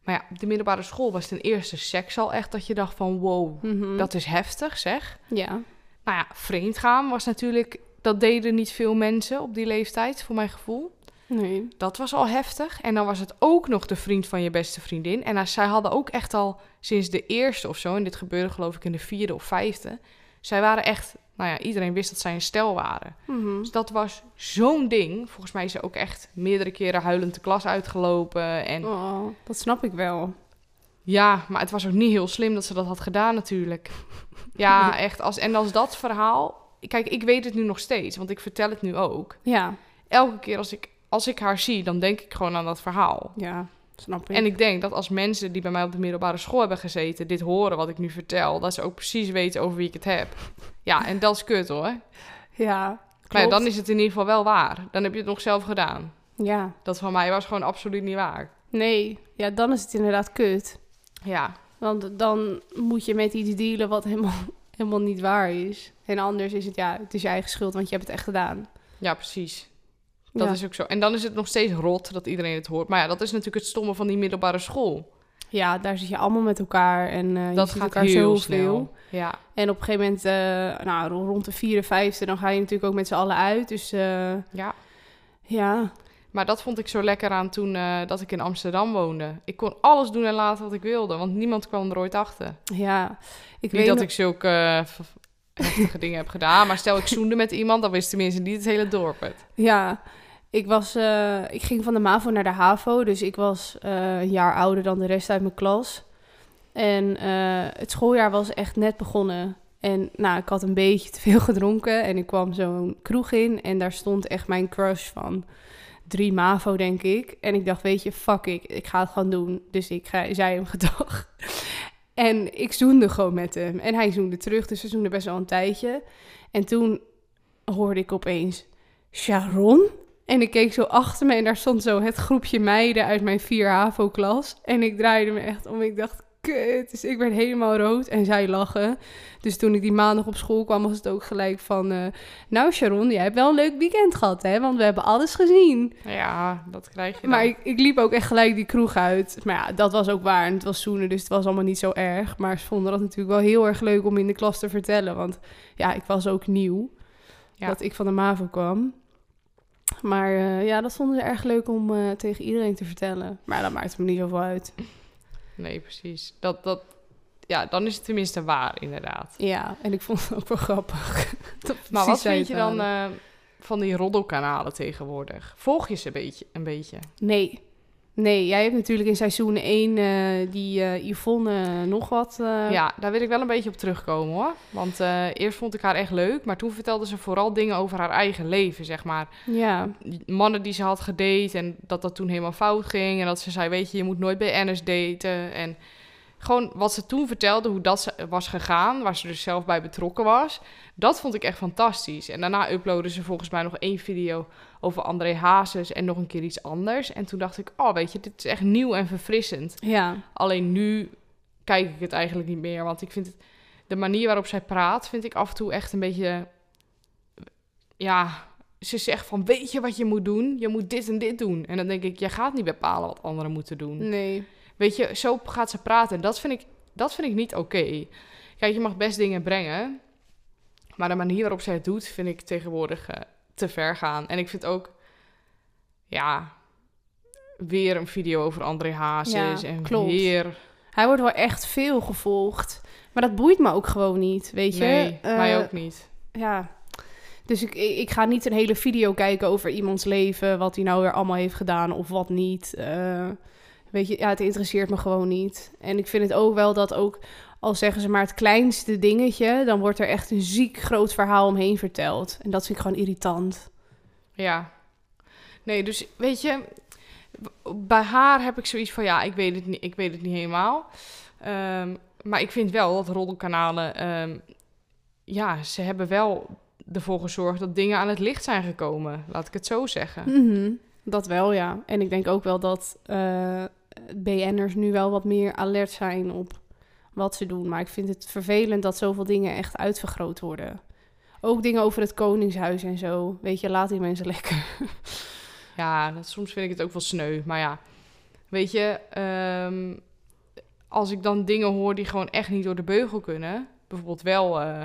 Speaker 1: Maar ja, op de middelbare school was ten eerste seks al echt dat je dacht van wow,
Speaker 2: Mhm.
Speaker 1: dat is heftig zeg.
Speaker 2: ja.
Speaker 1: Nou ja, vreemd gaan was natuurlijk, dat deden niet veel mensen op die leeftijd, voor mijn gevoel.
Speaker 2: Nee.
Speaker 1: Dat was al heftig. En dan was het ook nog de vriend van je beste vriendin. En nou, zij hadden ook echt al sinds de eerste of zo, en dit gebeurde geloof ik in de vierde of vijfde. Zij waren echt, nou ja, iedereen wist dat zij een stel waren.
Speaker 2: Mhm.
Speaker 1: Dus dat was zo'n ding. Volgens mij is ze ook echt meerdere keren huilend de klas uitgelopen. En
Speaker 2: Oh, dat snap ik wel.
Speaker 1: ja, maar het was ook niet heel slim dat ze dat had gedaan natuurlijk. (laughs) Ja, echt. Als, en als dat verhaal... Kijk, ik weet het nu nog steeds, want ik vertel het nu ook.
Speaker 2: Ja,
Speaker 1: Elke keer als ik, als ik haar zie, dan denk ik gewoon aan dat verhaal.
Speaker 2: ja, snap ik.
Speaker 1: En ik denk dat als mensen die bij mij op de middelbare school hebben gezeten, dit horen wat ik nu vertel, dat ze ook precies weten over wie ik het heb. Ja, en dat is kut hoor.
Speaker 2: Ja,
Speaker 1: Maar ja,
Speaker 2: klopt.
Speaker 1: dan is het in ieder geval wel waar. Dan heb je het nog zelf gedaan.
Speaker 2: Ja,
Speaker 1: Dat van mij was gewoon absoluut niet waar.
Speaker 2: nee. Ja, dan is het inderdaad kut.
Speaker 1: Ja,
Speaker 2: Want dan moet je met iets dealen wat helemaal, (laughs) helemaal niet waar is. En anders is het, ja, het is je eigen schuld, want je hebt het echt gedaan.
Speaker 1: ja precies. Dat
Speaker 2: ja.
Speaker 1: is ook zo. En dan is het nog steeds rot dat iedereen het hoort. Maar ja, dat is natuurlijk het stomme van die middelbare school.
Speaker 2: ja, daar zit je allemaal met elkaar en eh
Speaker 1: dat
Speaker 2: je ziet
Speaker 1: gaat
Speaker 2: elkaar
Speaker 1: heel
Speaker 2: zoveel.
Speaker 1: snel. Ja.
Speaker 2: En op een gegeven moment, eh, nou, ro- rond de 54, dan ga je natuurlijk ook met z'n allen uit. Dus eh,
Speaker 1: ja.
Speaker 2: ja,
Speaker 1: Maar dat vond ik zo lekker aan toen eh, dat ik in Amsterdam woonde. Ik kon alles doen en laten wat ik wilde, want niemand kwam er ooit achter.
Speaker 2: ja.
Speaker 1: Niet
Speaker 2: Ik weet
Speaker 1: dat
Speaker 2: nog-
Speaker 1: ik zulke eh, v- heftige dingen heb gedaan, maar stel ik zoende met iemand, dan wist tenminste niet het hele dorp het.
Speaker 2: Ja, ik, was, eh, ik ging van de MAVO naar de HAVO, dus ik was eh, een jaar ouder dan de rest uit mijn klas. En eh, het schooljaar was echt net begonnen. En nou, ik had een beetje te veel (laughs) gedronken en ik kwam zo'n kroeg in en daar stond echt mijn crush van. Drie MAVO, denk ik. En ik dacht, weet je, fuck ik, ik ga het gewoon doen. Dus ik ga- zei hem (laughs) gedag. En ik zoende gewoon met hem. En hij zoende terug, dus we zoenden best wel een tijdje. En toen hoorde ik opeens Sharon. En ik keek zo achter me en daar stond zo het groepje meiden uit mijn 4 HAVO-klas. En ik draaide me echt om. Ik dacht, kut. Dus ik werd helemaal rood en zij lachen. Dus toen ik die maandag op school kwam, was het ook gelijk van... eh, nou Sharon, jij hebt wel een leuk weekend gehad, hè? Want we hebben alles gezien.
Speaker 1: Ja, dat krijg je dan.
Speaker 2: Maar ik, ik liep ook echt gelijk die kroeg uit. Maar ja, dat was ook waar. En het was zoenen, dus het was allemaal niet zo erg. Maar ze vonden dat natuurlijk wel heel erg leuk om in de klas te vertellen. Want ja, ik was ook nieuw.
Speaker 1: Ja.
Speaker 2: Dat ik van de MAVO kwam. Maar eh, ja, dat vonden ze erg leuk om eh, tegen iedereen te vertellen. Maar dat maakt me niet zoveel uit.
Speaker 1: Nee, precies. Dat, dat, ja, dan is het tenminste waar, inderdaad.
Speaker 2: Ja, en ik (laughs) vond het ook wel grappig. Dat
Speaker 1: Maar
Speaker 2: precies
Speaker 1: wat
Speaker 2: zij
Speaker 1: vind je
Speaker 2: het
Speaker 1: dan
Speaker 2: waren.
Speaker 1: eh, van die roddelkanalen tegenwoordig? Volg je ze een beetje? Een beetje?
Speaker 2: Nee. Nee, jij hebt natuurlijk in seizoen 1 eh, die eh, Yvonne eh, nog wat... eh,
Speaker 1: Ja, daar wil ik wel een beetje op terugkomen hoor. Want eh, eerst vond ik haar echt leuk, maar toen vertelde ze vooral dingen over haar eigen leven, zeg maar.
Speaker 2: ja.
Speaker 1: Mannen die ze had gedate en dat dat toen helemaal fout ging. En dat ze zei, weet je, je moet nooit bij NS daten. En gewoon wat ze toen vertelde, hoe dat ze was gegaan, waar ze dus zelf bij betrokken was. Dat vond ik echt fantastisch. En daarna uploadde ze volgens mij nog één video over André Hazes en nog een keer iets anders. En toen dacht ik, oh weet je, dit is echt nieuw en verfrissend.
Speaker 2: Ja.
Speaker 1: Alleen nu kijk ik het eigenlijk niet meer. Want ik vind het, de manier waarop zij praat, vind ik af en toe echt een beetje. Ja, ze zegt van: Weet je wat je moet doen? Je moet dit en dit doen. En dan denk ik: Jij gaat niet bepalen wat anderen moeten doen.
Speaker 2: Nee.
Speaker 1: Weet je, zo gaat ze praten. En dat vind ik, dat vind ik niet oké. Kijk, je mag best dingen brengen. Maar de manier waarop zij het doet, vind ik tegenwoordig eh, te ver gaan. En ik vind ook, ja, weer een video over André Hazes.
Speaker 2: Ja,
Speaker 1: en
Speaker 2: klopt.
Speaker 1: weer...
Speaker 2: Hij wordt wel echt veel gevolgd. Maar dat boeit me ook gewoon niet, weet je?
Speaker 1: nee,
Speaker 2: Eh,
Speaker 1: mij ook niet.
Speaker 2: Ja. Dus ik, ik ik ga niet een hele video kijken over iemands leven, wat hij nou weer allemaal heeft gedaan of wat niet. Eh, weet je, ja, het interesseert me gewoon niet. En ik vind het ook wel dat ook, al zeggen ze maar het kleinste dingetje, dan wordt er echt een ziek groot verhaal omheen verteld. En dat vind ik gewoon irritant.
Speaker 1: Ja. Nee, dus weet je, w- bij haar heb ik zoiets van, ja, ik weet het niet, ik weet het niet helemaal. Ehm, maar ik vind wel dat roddelkanalen, ehm, ja, ze hebben wel ervoor gezorgd dat dingen aan het licht zijn gekomen. Laat ik het zo zeggen.
Speaker 2: Mhm, dat wel, ja. En ik denk ook wel dat eh, BN'ers nu wel wat meer alert zijn op wat ze doen. Maar ik vind het vervelend dat zoveel dingen echt uitvergroot worden. Ook dingen over het Koningshuis en zo. Weet je, laat die mensen (laughs) lekker.
Speaker 1: Ja, dat, soms vind ik het ook wel sneu. Maar ja, weet je, ehm, als ik dan dingen hoor die gewoon echt niet door de beugel kunnen, bijvoorbeeld wel eh,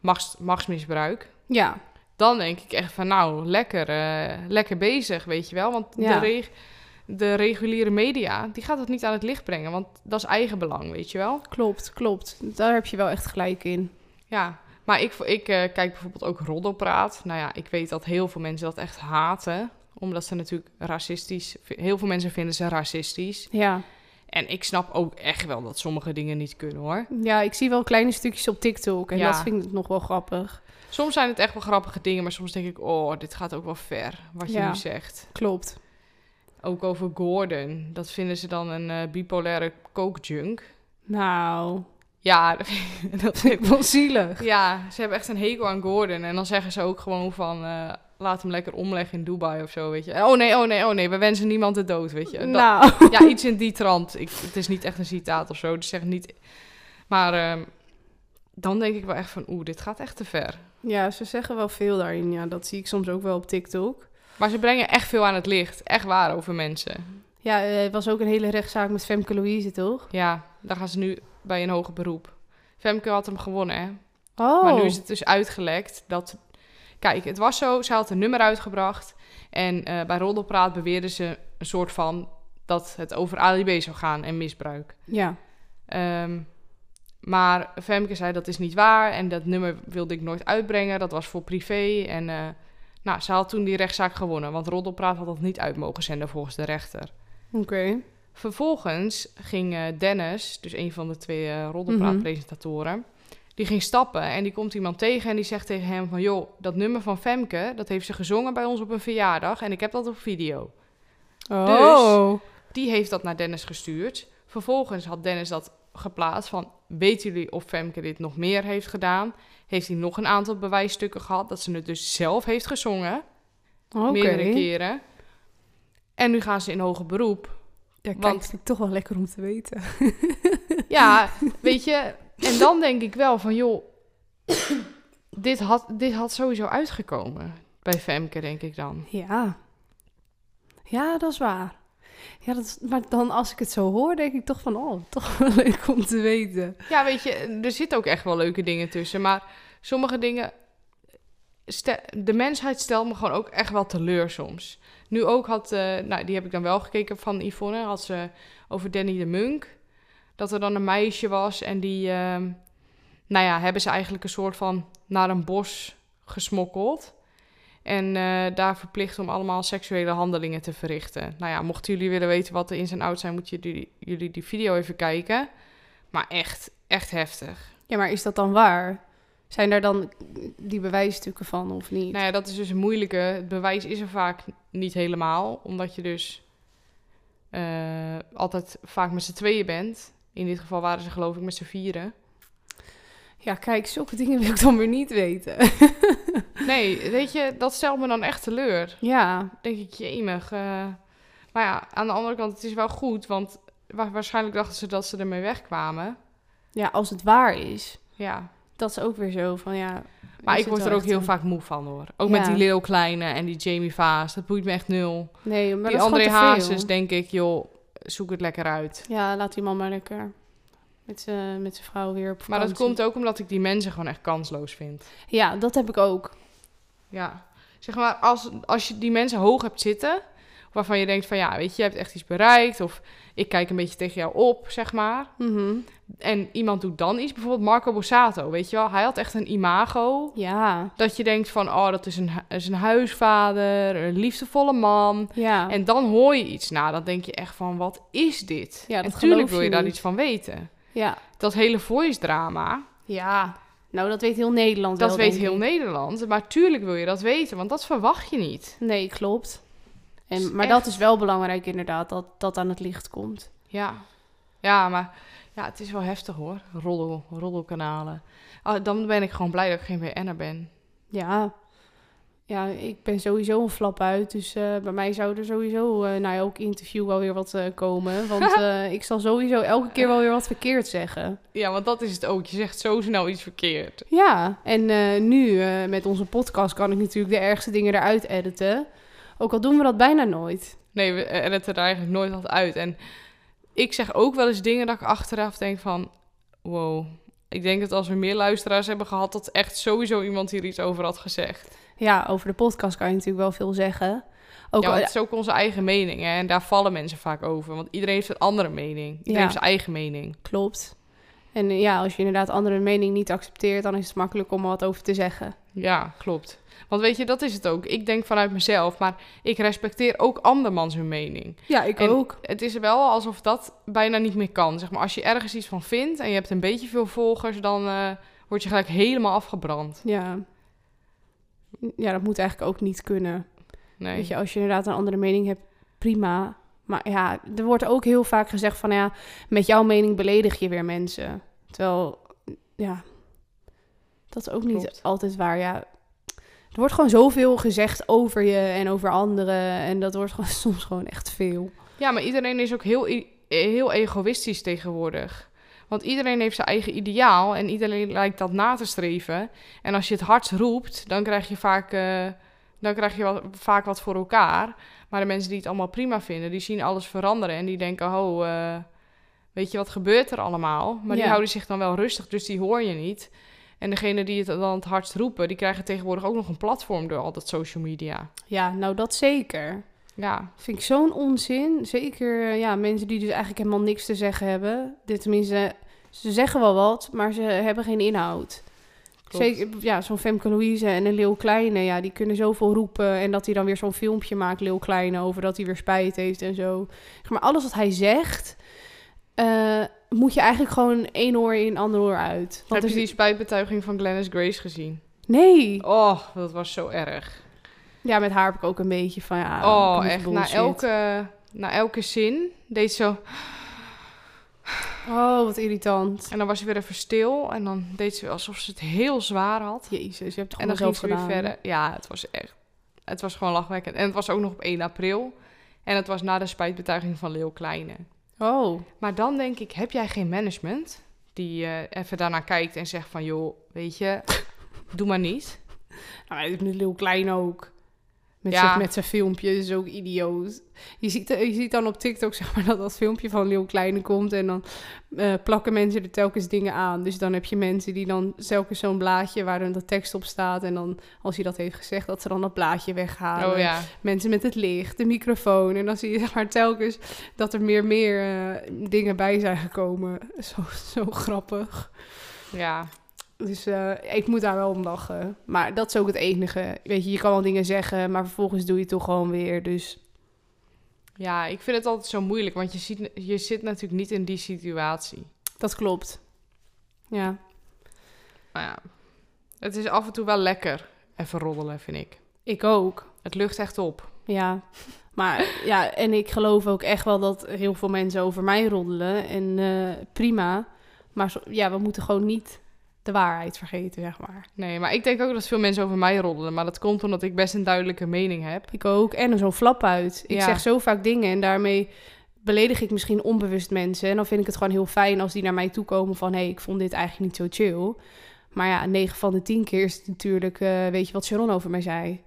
Speaker 1: machts- machtsmisbruik,
Speaker 2: Ja,
Speaker 1: dan denk ik echt van nou, lekker, eh, lekker bezig, weet je wel. Want
Speaker 2: Ja.
Speaker 1: de, reg- de reguliere media, die gaat het niet aan het licht brengen, want dat is eigen belang, weet je wel.
Speaker 2: klopt, klopt. Daar heb je wel echt gelijk in.
Speaker 1: Ja, maar ik, ik eh, kijk bijvoorbeeld ook Roddelpraat. Nou ja, ik weet dat heel veel mensen dat echt haten, omdat ze natuurlijk racistisch, heel veel mensen vinden ze racistisch.
Speaker 2: Ja.
Speaker 1: En ik snap ook echt wel dat sommige dingen niet kunnen hoor.
Speaker 2: ja, ik zie wel kleine stukjes op TikTok. En
Speaker 1: Ja.
Speaker 2: dat vind ik nog wel grappig.
Speaker 1: Soms zijn het echt wel grappige dingen, maar soms denk ik, oh, dit gaat ook wel ver, wat je
Speaker 2: Ja.
Speaker 1: nu zegt.
Speaker 2: Klopt.
Speaker 1: Ook over Gordon. Dat vinden ze dan een eh, bipolaire kookjunk.
Speaker 2: Nou,
Speaker 1: Ja, (laughs) dat vind ik- dat vind ik wel
Speaker 2: zielig.
Speaker 1: Ja, ze hebben echt een hekel aan Gordon. En dan zeggen ze ook gewoon van... eh, laat hem lekker omleggen in Dubai of zo, weet je. Oh nee, oh nee, oh nee, we wensen niemand de dood, weet je. Dat-
Speaker 2: (laughs) Nou,
Speaker 1: Ja, iets in die trant. Ik, het is niet echt een citaat of zo, dus zeg niet... Maar ehm, dan denk ik wel echt van... Oeh, dit gaat echt te ver.
Speaker 2: ja, ze zeggen wel veel daarin. Ja, dat zie ik soms ook wel op TikTok.
Speaker 1: Maar ze brengen echt veel aan het licht. Echt waar over mensen.
Speaker 2: Ja, eh, het was ook een hele rechtszaak met Femke Louise, toch?
Speaker 1: Ja, daar gaan ze nu bij een hoger beroep. Femke had hem gewonnen, hè.
Speaker 2: Oh,
Speaker 1: Maar nu is het dus uitgelekt dat... Kijk, het was zo, ze had een nummer uitgebracht. En eh, bij Roddelpraat beweerden ze een soort van... dat het over alibi zou gaan en misbruik.
Speaker 2: ja.
Speaker 1: Ehm, maar Femke zei dat is niet waar. En dat nummer wilde ik nooit uitbrengen. Dat was voor privé. En eh, nou, ze had toen die rechtszaak gewonnen. Want Roddelpraat had dat niet uit mogen zenden volgens de rechter.
Speaker 2: Oké.
Speaker 1: Vervolgens ging eh, Dennis, dus een van de twee eh,
Speaker 2: Mhm.
Speaker 1: roddelpraatpresentatoren, die ging stappen en die komt iemand tegen en die zegt tegen hem van joh, dat nummer van Femke, dat heeft ze gezongen bij ons op een verjaardag en ik heb dat op video.
Speaker 2: Oh. Dus,
Speaker 1: Die heeft dat naar Dennis gestuurd. Vervolgens had Dennis dat geplaatst van... weten jullie of Femke dit nog meer heeft gedaan? Heeft hij nog een aantal bewijsstukken gehad dat ze het dus zelf heeft gezongen?
Speaker 2: Oké.
Speaker 1: Meerdere keren. En nu gaan ze in hoger beroep.
Speaker 4: Ja,
Speaker 1: kijk, Want-
Speaker 4: vind ik toch wel lekker om te weten.
Speaker 1: Ja, weet je. En dan denk ik wel van, joh... dit, had, dit had sowieso uitgekomen bij Femke, denk ik dan.
Speaker 2: Ja. Ja, dat is waar. Ja, dat is- maar dan als ik het zo hoor, denk ik toch van, oh, toch wel (laughs) leuk om te weten.
Speaker 1: Ja, weet je, er zitten ook echt wel leuke dingen tussen. Maar sommige dingen. ste- De mensheid stelt me gewoon ook echt wel teleur soms. Nu ook had, eh, nou die heb ik dan wel gekeken van Yvonne, had ze over Danny de Munk. Dat er dan een meisje was en die, ehm, nou ja, hebben ze eigenlijk een soort van naar een bos gesmokkeld. En eh, daar verplicht om allemaal seksuele handelingen te verrichten. Nou ja, mochten jullie willen weten wat er in zijn oud zijn, moet je die- jullie die video even kijken. Maar echt, echt heftig.
Speaker 2: Ja, maar is dat dan waar? Zijn daar dan die bewijsstukken van of niet?
Speaker 1: Nou ja, dat is dus een moeilijke. Het bewijs is er vaak niet helemaal. Omdat je dus eh, altijd vaak met z'n tweeën bent. In dit geval waren ze geloof ik met z'n vieren.
Speaker 2: Ja, kijk, zulke dingen wil ik dan weer niet weten.
Speaker 1: Nee, weet je, dat stelt me dan echt teleur.
Speaker 2: ja,
Speaker 1: Denk ik, jemig. eh. maar ja, aan de andere kant, het is wel goed. Want wa- waarschijnlijk dachten ze dat ze ermee wegkwamen.
Speaker 2: ja, als het waar is,
Speaker 1: Ja.
Speaker 2: dat is ook weer zo van, ja...
Speaker 1: Maar
Speaker 2: is
Speaker 1: ik
Speaker 2: het
Speaker 1: word
Speaker 2: wel
Speaker 1: er ook
Speaker 2: echt
Speaker 1: heel
Speaker 2: een-
Speaker 1: vaak moe van hoor. Ook met
Speaker 2: Ja.
Speaker 1: die Leo Kleine en die Jamie Vaas. Dat boeit me echt nul.
Speaker 2: Nee, maar
Speaker 1: die
Speaker 2: dat is
Speaker 1: André
Speaker 2: gewoon te veel.
Speaker 1: Hazes, denk ik, joh, zoek het lekker uit.
Speaker 2: Ja, laat die man maar lekker met zijn met zijn vrouw weer op
Speaker 1: Maar dat
Speaker 2: vakantie.
Speaker 1: komt ook omdat ik die mensen gewoon echt kansloos vind.
Speaker 2: Ja, dat heb ik ook.
Speaker 1: Ja. Zeg maar, als, als je die mensen hoog hebt zitten, waarvan je denkt van ja, weet je, je hebt echt iets bereikt. Of ik kijk een beetje tegen jou op, zeg maar.
Speaker 2: Mhm.
Speaker 1: En iemand doet dan iets. Bijvoorbeeld Marco Borsato, weet je wel. Hij had echt een imago.
Speaker 2: Ja,
Speaker 1: Dat je denkt van, oh, dat is een, hu- is een huisvader, een liefdevolle man.
Speaker 2: ja.
Speaker 1: En dan hoor je iets na. Dan denk je echt van, wat is dit?
Speaker 2: Ja, dat
Speaker 1: en tuurlijk
Speaker 2: geloof
Speaker 1: wil
Speaker 2: je
Speaker 1: je daar
Speaker 2: niet.
Speaker 1: iets van weten.
Speaker 2: ja.
Speaker 1: Dat hele voice drama.
Speaker 2: Ja. Nou, dat weet heel Nederland
Speaker 1: Dat
Speaker 2: wel,
Speaker 1: weet
Speaker 2: denk
Speaker 1: heel
Speaker 2: ik.
Speaker 1: Nederland, maar tuurlijk wil je dat weten, want dat verwacht je niet.
Speaker 2: Nee, klopt.
Speaker 1: Is
Speaker 2: En, maar
Speaker 1: echt-
Speaker 2: dat is wel belangrijk inderdaad, dat dat aan het licht komt.
Speaker 1: Ja, ja maar ja, het is wel heftig hoor, roddel, roddelkanalen. Ah, dan ben ik gewoon blij dat ik geen BN'er ben.
Speaker 2: Ja. Ja, ik ben sowieso een flap uit, dus eh, bij mij zou er sowieso eh na elk interview wel weer wat eh, komen. Want
Speaker 1: (laughs)
Speaker 2: eh, ik zal sowieso elke keer wel weer wat verkeerd zeggen.
Speaker 1: Ja, want dat is het ook. Je zegt zo snel iets verkeerd.
Speaker 2: Ja, en eh, nu eh, met onze podcast kan ik natuurlijk de ergste dingen eruit editen. Ook al doen we dat bijna nooit.
Speaker 1: Nee, we eh, editen er eigenlijk nooit wat uit. En ik zeg ook wel eens dingen dat ik achteraf denk van, wow. Ik denk dat als we meer luisteraars hebben gehad, dat echt sowieso iemand hier iets over had gezegd.
Speaker 2: Ja, over de podcast kan je natuurlijk wel veel zeggen. Ook
Speaker 1: ja,
Speaker 2: al-
Speaker 1: want het is ook onze eigen mening hè? en daar vallen mensen vaak over. Want iedereen heeft een andere mening. Iedereen
Speaker 2: Ja.
Speaker 1: heeft zijn eigen mening.
Speaker 2: Klopt. En eh, ja, als je inderdaad andere mening niet accepteert, dan is het makkelijk om er wat over te zeggen.
Speaker 1: Ja, klopt. Want weet je, dat is het ook. Ik denk vanuit mezelf, maar ik respecteer ook andermans hun mening.
Speaker 2: Ja, ik
Speaker 1: En
Speaker 2: ook.
Speaker 1: Het is wel alsof dat bijna niet meer kan. Zeg maar, als je ergens iets van vindt en je hebt een beetje veel volgers, dan eh, word je gelijk helemaal afgebrand.
Speaker 2: Ja. Ja, dat moet eigenlijk ook niet kunnen.
Speaker 1: Nee.
Speaker 2: Weet je, als je inderdaad een andere mening hebt, prima. Maar ja, er wordt ook heel vaak gezegd van ja, met jouw mening beledig je weer mensen. Terwijl, ja, dat is ook niet
Speaker 1: Klopt.
Speaker 2: altijd waar. Ja, er wordt gewoon zoveel gezegd over je en over anderen. En dat wordt gewoon, (laughs) soms gewoon echt veel.
Speaker 1: Ja, maar iedereen is ook heel, i- heel egoïstisch tegenwoordig. Want iedereen heeft zijn eigen ideaal en iedereen lijkt dat na te streven. En als je het hardst roept, dan krijg je vaak, eh, dan krijg je wel- vaak wat voor elkaar. Maar de mensen die het allemaal prima vinden, die zien alles veranderen en die denken, oh, eh, weet je wat gebeurt er allemaal? Maar die
Speaker 2: Ja.
Speaker 1: houden zich dan wel rustig, dus die hoor je niet. En degene die het dan het hardst roepen, die krijgen tegenwoordig ook nog een platform door al dat social media.
Speaker 2: Ja, nou dat zeker.
Speaker 1: Ja,
Speaker 2: Vind ik zo'n onzin. Zeker eh, ja, mensen die dus eigenlijk helemaal niks te zeggen hebben. Dit tenminste, ze zeggen wel wat, maar ze hebben geen inhoud.
Speaker 1: klopt.
Speaker 2: Zeker, ja, zo'n Femke Louise en een Leeuw Kleine, ja, die kunnen zoveel roepen. En dat hij dan weer zo'n filmpje maakt, Leeuw Kleine, over dat hij weer spijt heeft en zo. Zeg Maar alles wat hij zegt, eh, moet je eigenlijk gewoon één oor in, ander oor uit.
Speaker 1: Heb
Speaker 2: Want
Speaker 1: je
Speaker 2: er
Speaker 1: die
Speaker 2: zit-
Speaker 1: spijtbetuiging van Glennis Grace gezien?
Speaker 2: Nee.
Speaker 1: Oh, dat was zo erg.
Speaker 2: Ja, met haar heb ik ook een beetje van, ja...
Speaker 1: oh,
Speaker 2: wat
Speaker 1: echt. Na
Speaker 2: bullshit.
Speaker 1: elke, na elke zin deed ze zo...
Speaker 2: Oh, wat irritant.
Speaker 1: En dan was ze weer even stil. En dan deed ze alsof ze het heel zwaar had.
Speaker 2: Jezus, je hebt het
Speaker 1: En dan
Speaker 2: gewoon
Speaker 1: ging
Speaker 2: zelf
Speaker 1: ze weer
Speaker 2: gedaan.
Speaker 1: verder. Ja, het was echt... Het was gewoon lachwekkend. En het was ook nog op 1 april. En het was na de spijtbetuiging van Leeuw Kleine.
Speaker 2: Oh,
Speaker 1: Maar dan denk ik, heb jij geen management die eh, even daarnaar kijkt en zegt van... joh, weet je, (laughs) doe maar niet.
Speaker 2: nou, hij doet nu heel klein ook. Met,
Speaker 1: Ja.
Speaker 2: zijn, met zijn filmpjes, ook idioot. Je ziet, eh, je ziet dan op TikTok (laughs) zeg maar, dat dat filmpje van Leeuw Kleine komt. En dan eh, plakken mensen er telkens dingen aan. Dus dan heb je mensen die dan telkens zo'n blaadje waar dan de tekst op staat. En dan als hij dat heeft gezegd, dat ze dan dat blaadje weghalen.
Speaker 1: Oh ja.
Speaker 2: mensen met het licht, de microfoon. En dan zie je zeg maar telkens dat er meer meer eh, dingen bij zijn gekomen. (laughs) Zo, zo grappig.
Speaker 1: Ja,
Speaker 2: Dus eh, ik moet daar wel om lachen. Maar dat is ook het enige. Weet je, je kan wel dingen zeggen, maar vervolgens doe je het toch gewoon weer. Dus
Speaker 1: ja, ik vind het altijd zo moeilijk, want je, ziet, je zit natuurlijk niet in die situatie.
Speaker 2: dat klopt. Ja.
Speaker 1: Maar Nou ja, het is af en toe wel lekker even roddelen, vind ik.
Speaker 2: Ik ook.
Speaker 1: Het lucht echt op.
Speaker 2: Ja. Maar ja, en ik geloof ook echt wel dat heel veel mensen over mij roddelen. En eh, prima. Maar zo- ja, we moeten gewoon niet de waarheid vergeten, zeg maar.
Speaker 1: Nee, maar ik denk ook dat veel mensen over mij roddelen. Maar dat komt omdat ik best een duidelijke mening heb.
Speaker 2: Ik ook. En zo'n flap uit. Ik
Speaker 1: Ja.
Speaker 2: zeg zo vaak dingen en daarmee beledig ik misschien onbewust mensen. En dan vind ik het gewoon heel fijn als die naar mij toe komen van... hé, hey, ik vond dit eigenlijk niet zo chill. Maar ja, 9 van de 10 keer is het natuurlijk... eh, weet je wat Sharon over mij zei?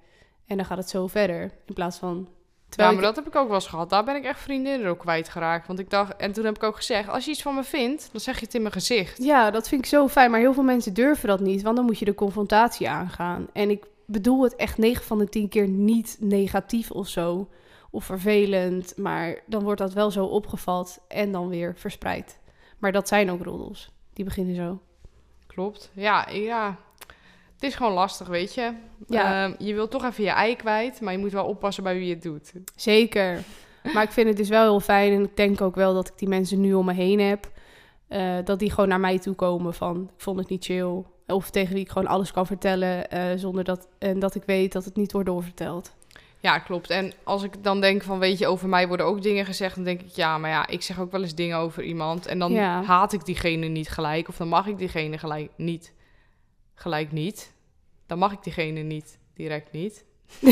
Speaker 2: En dan gaat het zo verder. In plaats van...
Speaker 1: Ja,
Speaker 2: Terwijl
Speaker 1: maar
Speaker 2: ik-
Speaker 1: dat heb ik ook wel eens gehad. Daar ben ik echt vriendinnen ook kwijtgeraakt. Want ik dacht, en toen heb ik ook gezegd, als je iets van me vindt, dan zeg je het in mijn gezicht.
Speaker 2: ja, dat vind ik zo fijn. Maar heel veel mensen durven dat niet. Want dan moet je de confrontatie aangaan. En ik bedoel het echt 9 van de 10 keer niet negatief of zo. Of vervelend. Maar dan wordt dat wel zo opgevat en dan weer verspreid. Maar dat zijn ook roddels. Die beginnen zo.
Speaker 1: Klopt. Ja, ja. Het is gewoon lastig, weet je.
Speaker 2: Ja.
Speaker 1: Ehm, je wilt toch even je ei kwijt, maar je moet wel oppassen bij wie je het doet.
Speaker 2: Zeker. Maar ik vind het dus wel heel fijn. En ik denk ook wel dat ik die mensen nu om me heen heb. eh, dat die gewoon naar mij toe komen van ik vond het niet chill. Of tegen wie ik gewoon alles kan vertellen. eh, zonder dat, en dat ik weet dat het niet wordt doorverteld.
Speaker 1: Ja, klopt. En als ik dan denk van, weet je, over mij worden ook dingen gezegd, dan denk ik, ja, maar ja, ik zeg ook wel eens dingen over iemand. En dan
Speaker 2: Ja.
Speaker 1: haat ik diegene niet gelijk, of dan mag ik diegene gelijk niet. Gelijk niet. Dan mag ik diegene niet, direct
Speaker 2: (laughs)
Speaker 1: niet. (laughs)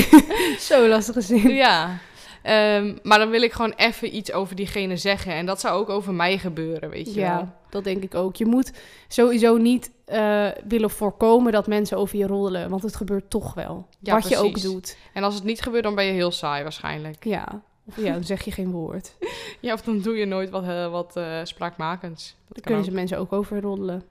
Speaker 2: Zo lastige zin.
Speaker 1: ja. Ehm, maar dan wil ik gewoon even iets over diegene zeggen. En dat zou ook over mij gebeuren, weet je wel.
Speaker 2: Ja, dat denk ik ook. Je moet sowieso niet eh, willen voorkomen dat mensen over je roddelen. Want het gebeurt toch wel.
Speaker 1: Ja,
Speaker 2: wat je ook
Speaker 1: precies.
Speaker 2: doet.
Speaker 1: En als het niet gebeurt, dan ben je heel saai waarschijnlijk.
Speaker 2: Ja. Of ja, dan zeg je geen
Speaker 1: (laughs)
Speaker 2: woord.
Speaker 1: Ja, of dan doe je nooit wat, eh, wat eh, spraakmakends.
Speaker 2: Dan
Speaker 1: Dat kan
Speaker 2: kunnen
Speaker 1: ook.
Speaker 2: ze mensen ook over roddelen.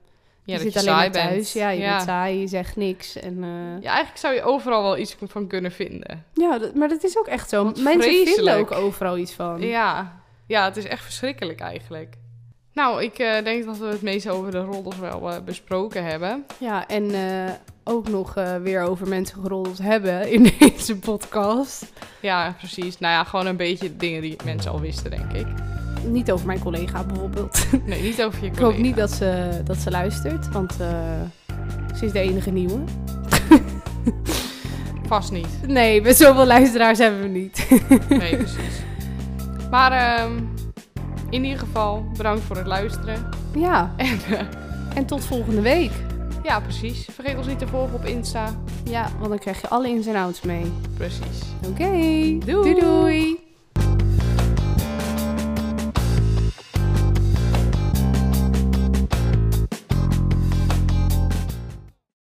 Speaker 1: Ja,
Speaker 2: je
Speaker 1: dat
Speaker 2: zit
Speaker 1: je
Speaker 2: alleen
Speaker 1: saai
Speaker 2: maar thuis.
Speaker 1: bent.
Speaker 2: Ja, je
Speaker 1: ja.
Speaker 2: bent saai, je zegt niks. En, eh,
Speaker 1: Ja, eigenlijk zou je overal wel iets van kunnen vinden.
Speaker 2: Ja, dat- maar dat is ook echt zo.
Speaker 1: Wat
Speaker 2: mensen vinden
Speaker 1: vreselijk.
Speaker 2: ook overal iets van.
Speaker 1: Ja. ja, het is echt verschrikkelijk eigenlijk. Nou, ik eh, denk dat we het meest over de roddels wel eh, besproken hebben.
Speaker 2: Ja, en eh, ook nog eh, weer over mensen geroddeld hebben in (laughs) deze podcast.
Speaker 1: Ja, precies. Nou ja, gewoon een beetje dingen die mensen al wisten, denk (laughs) ik.
Speaker 2: Niet over mijn collega bijvoorbeeld.
Speaker 1: Nee, niet over je
Speaker 2: Ik
Speaker 1: collega.
Speaker 2: hoop niet dat ze, dat ze luistert, want eh, ze is de enige nieuwe.
Speaker 1: Vast niet.
Speaker 2: Nee, met zoveel luisteraars hebben we niet. (laughs)
Speaker 1: (laughs) Nee, precies. Maar ehm, in ieder geval, bedankt voor het luisteren.
Speaker 2: Ja,
Speaker 1: En eh,
Speaker 2: en tot volgende week.
Speaker 1: ja, precies. Vergeet ons niet te volgen op Insta.
Speaker 2: Ja, want dan krijg je alle ins en outs mee.
Speaker 1: Precies.
Speaker 2: Oké, doei doei.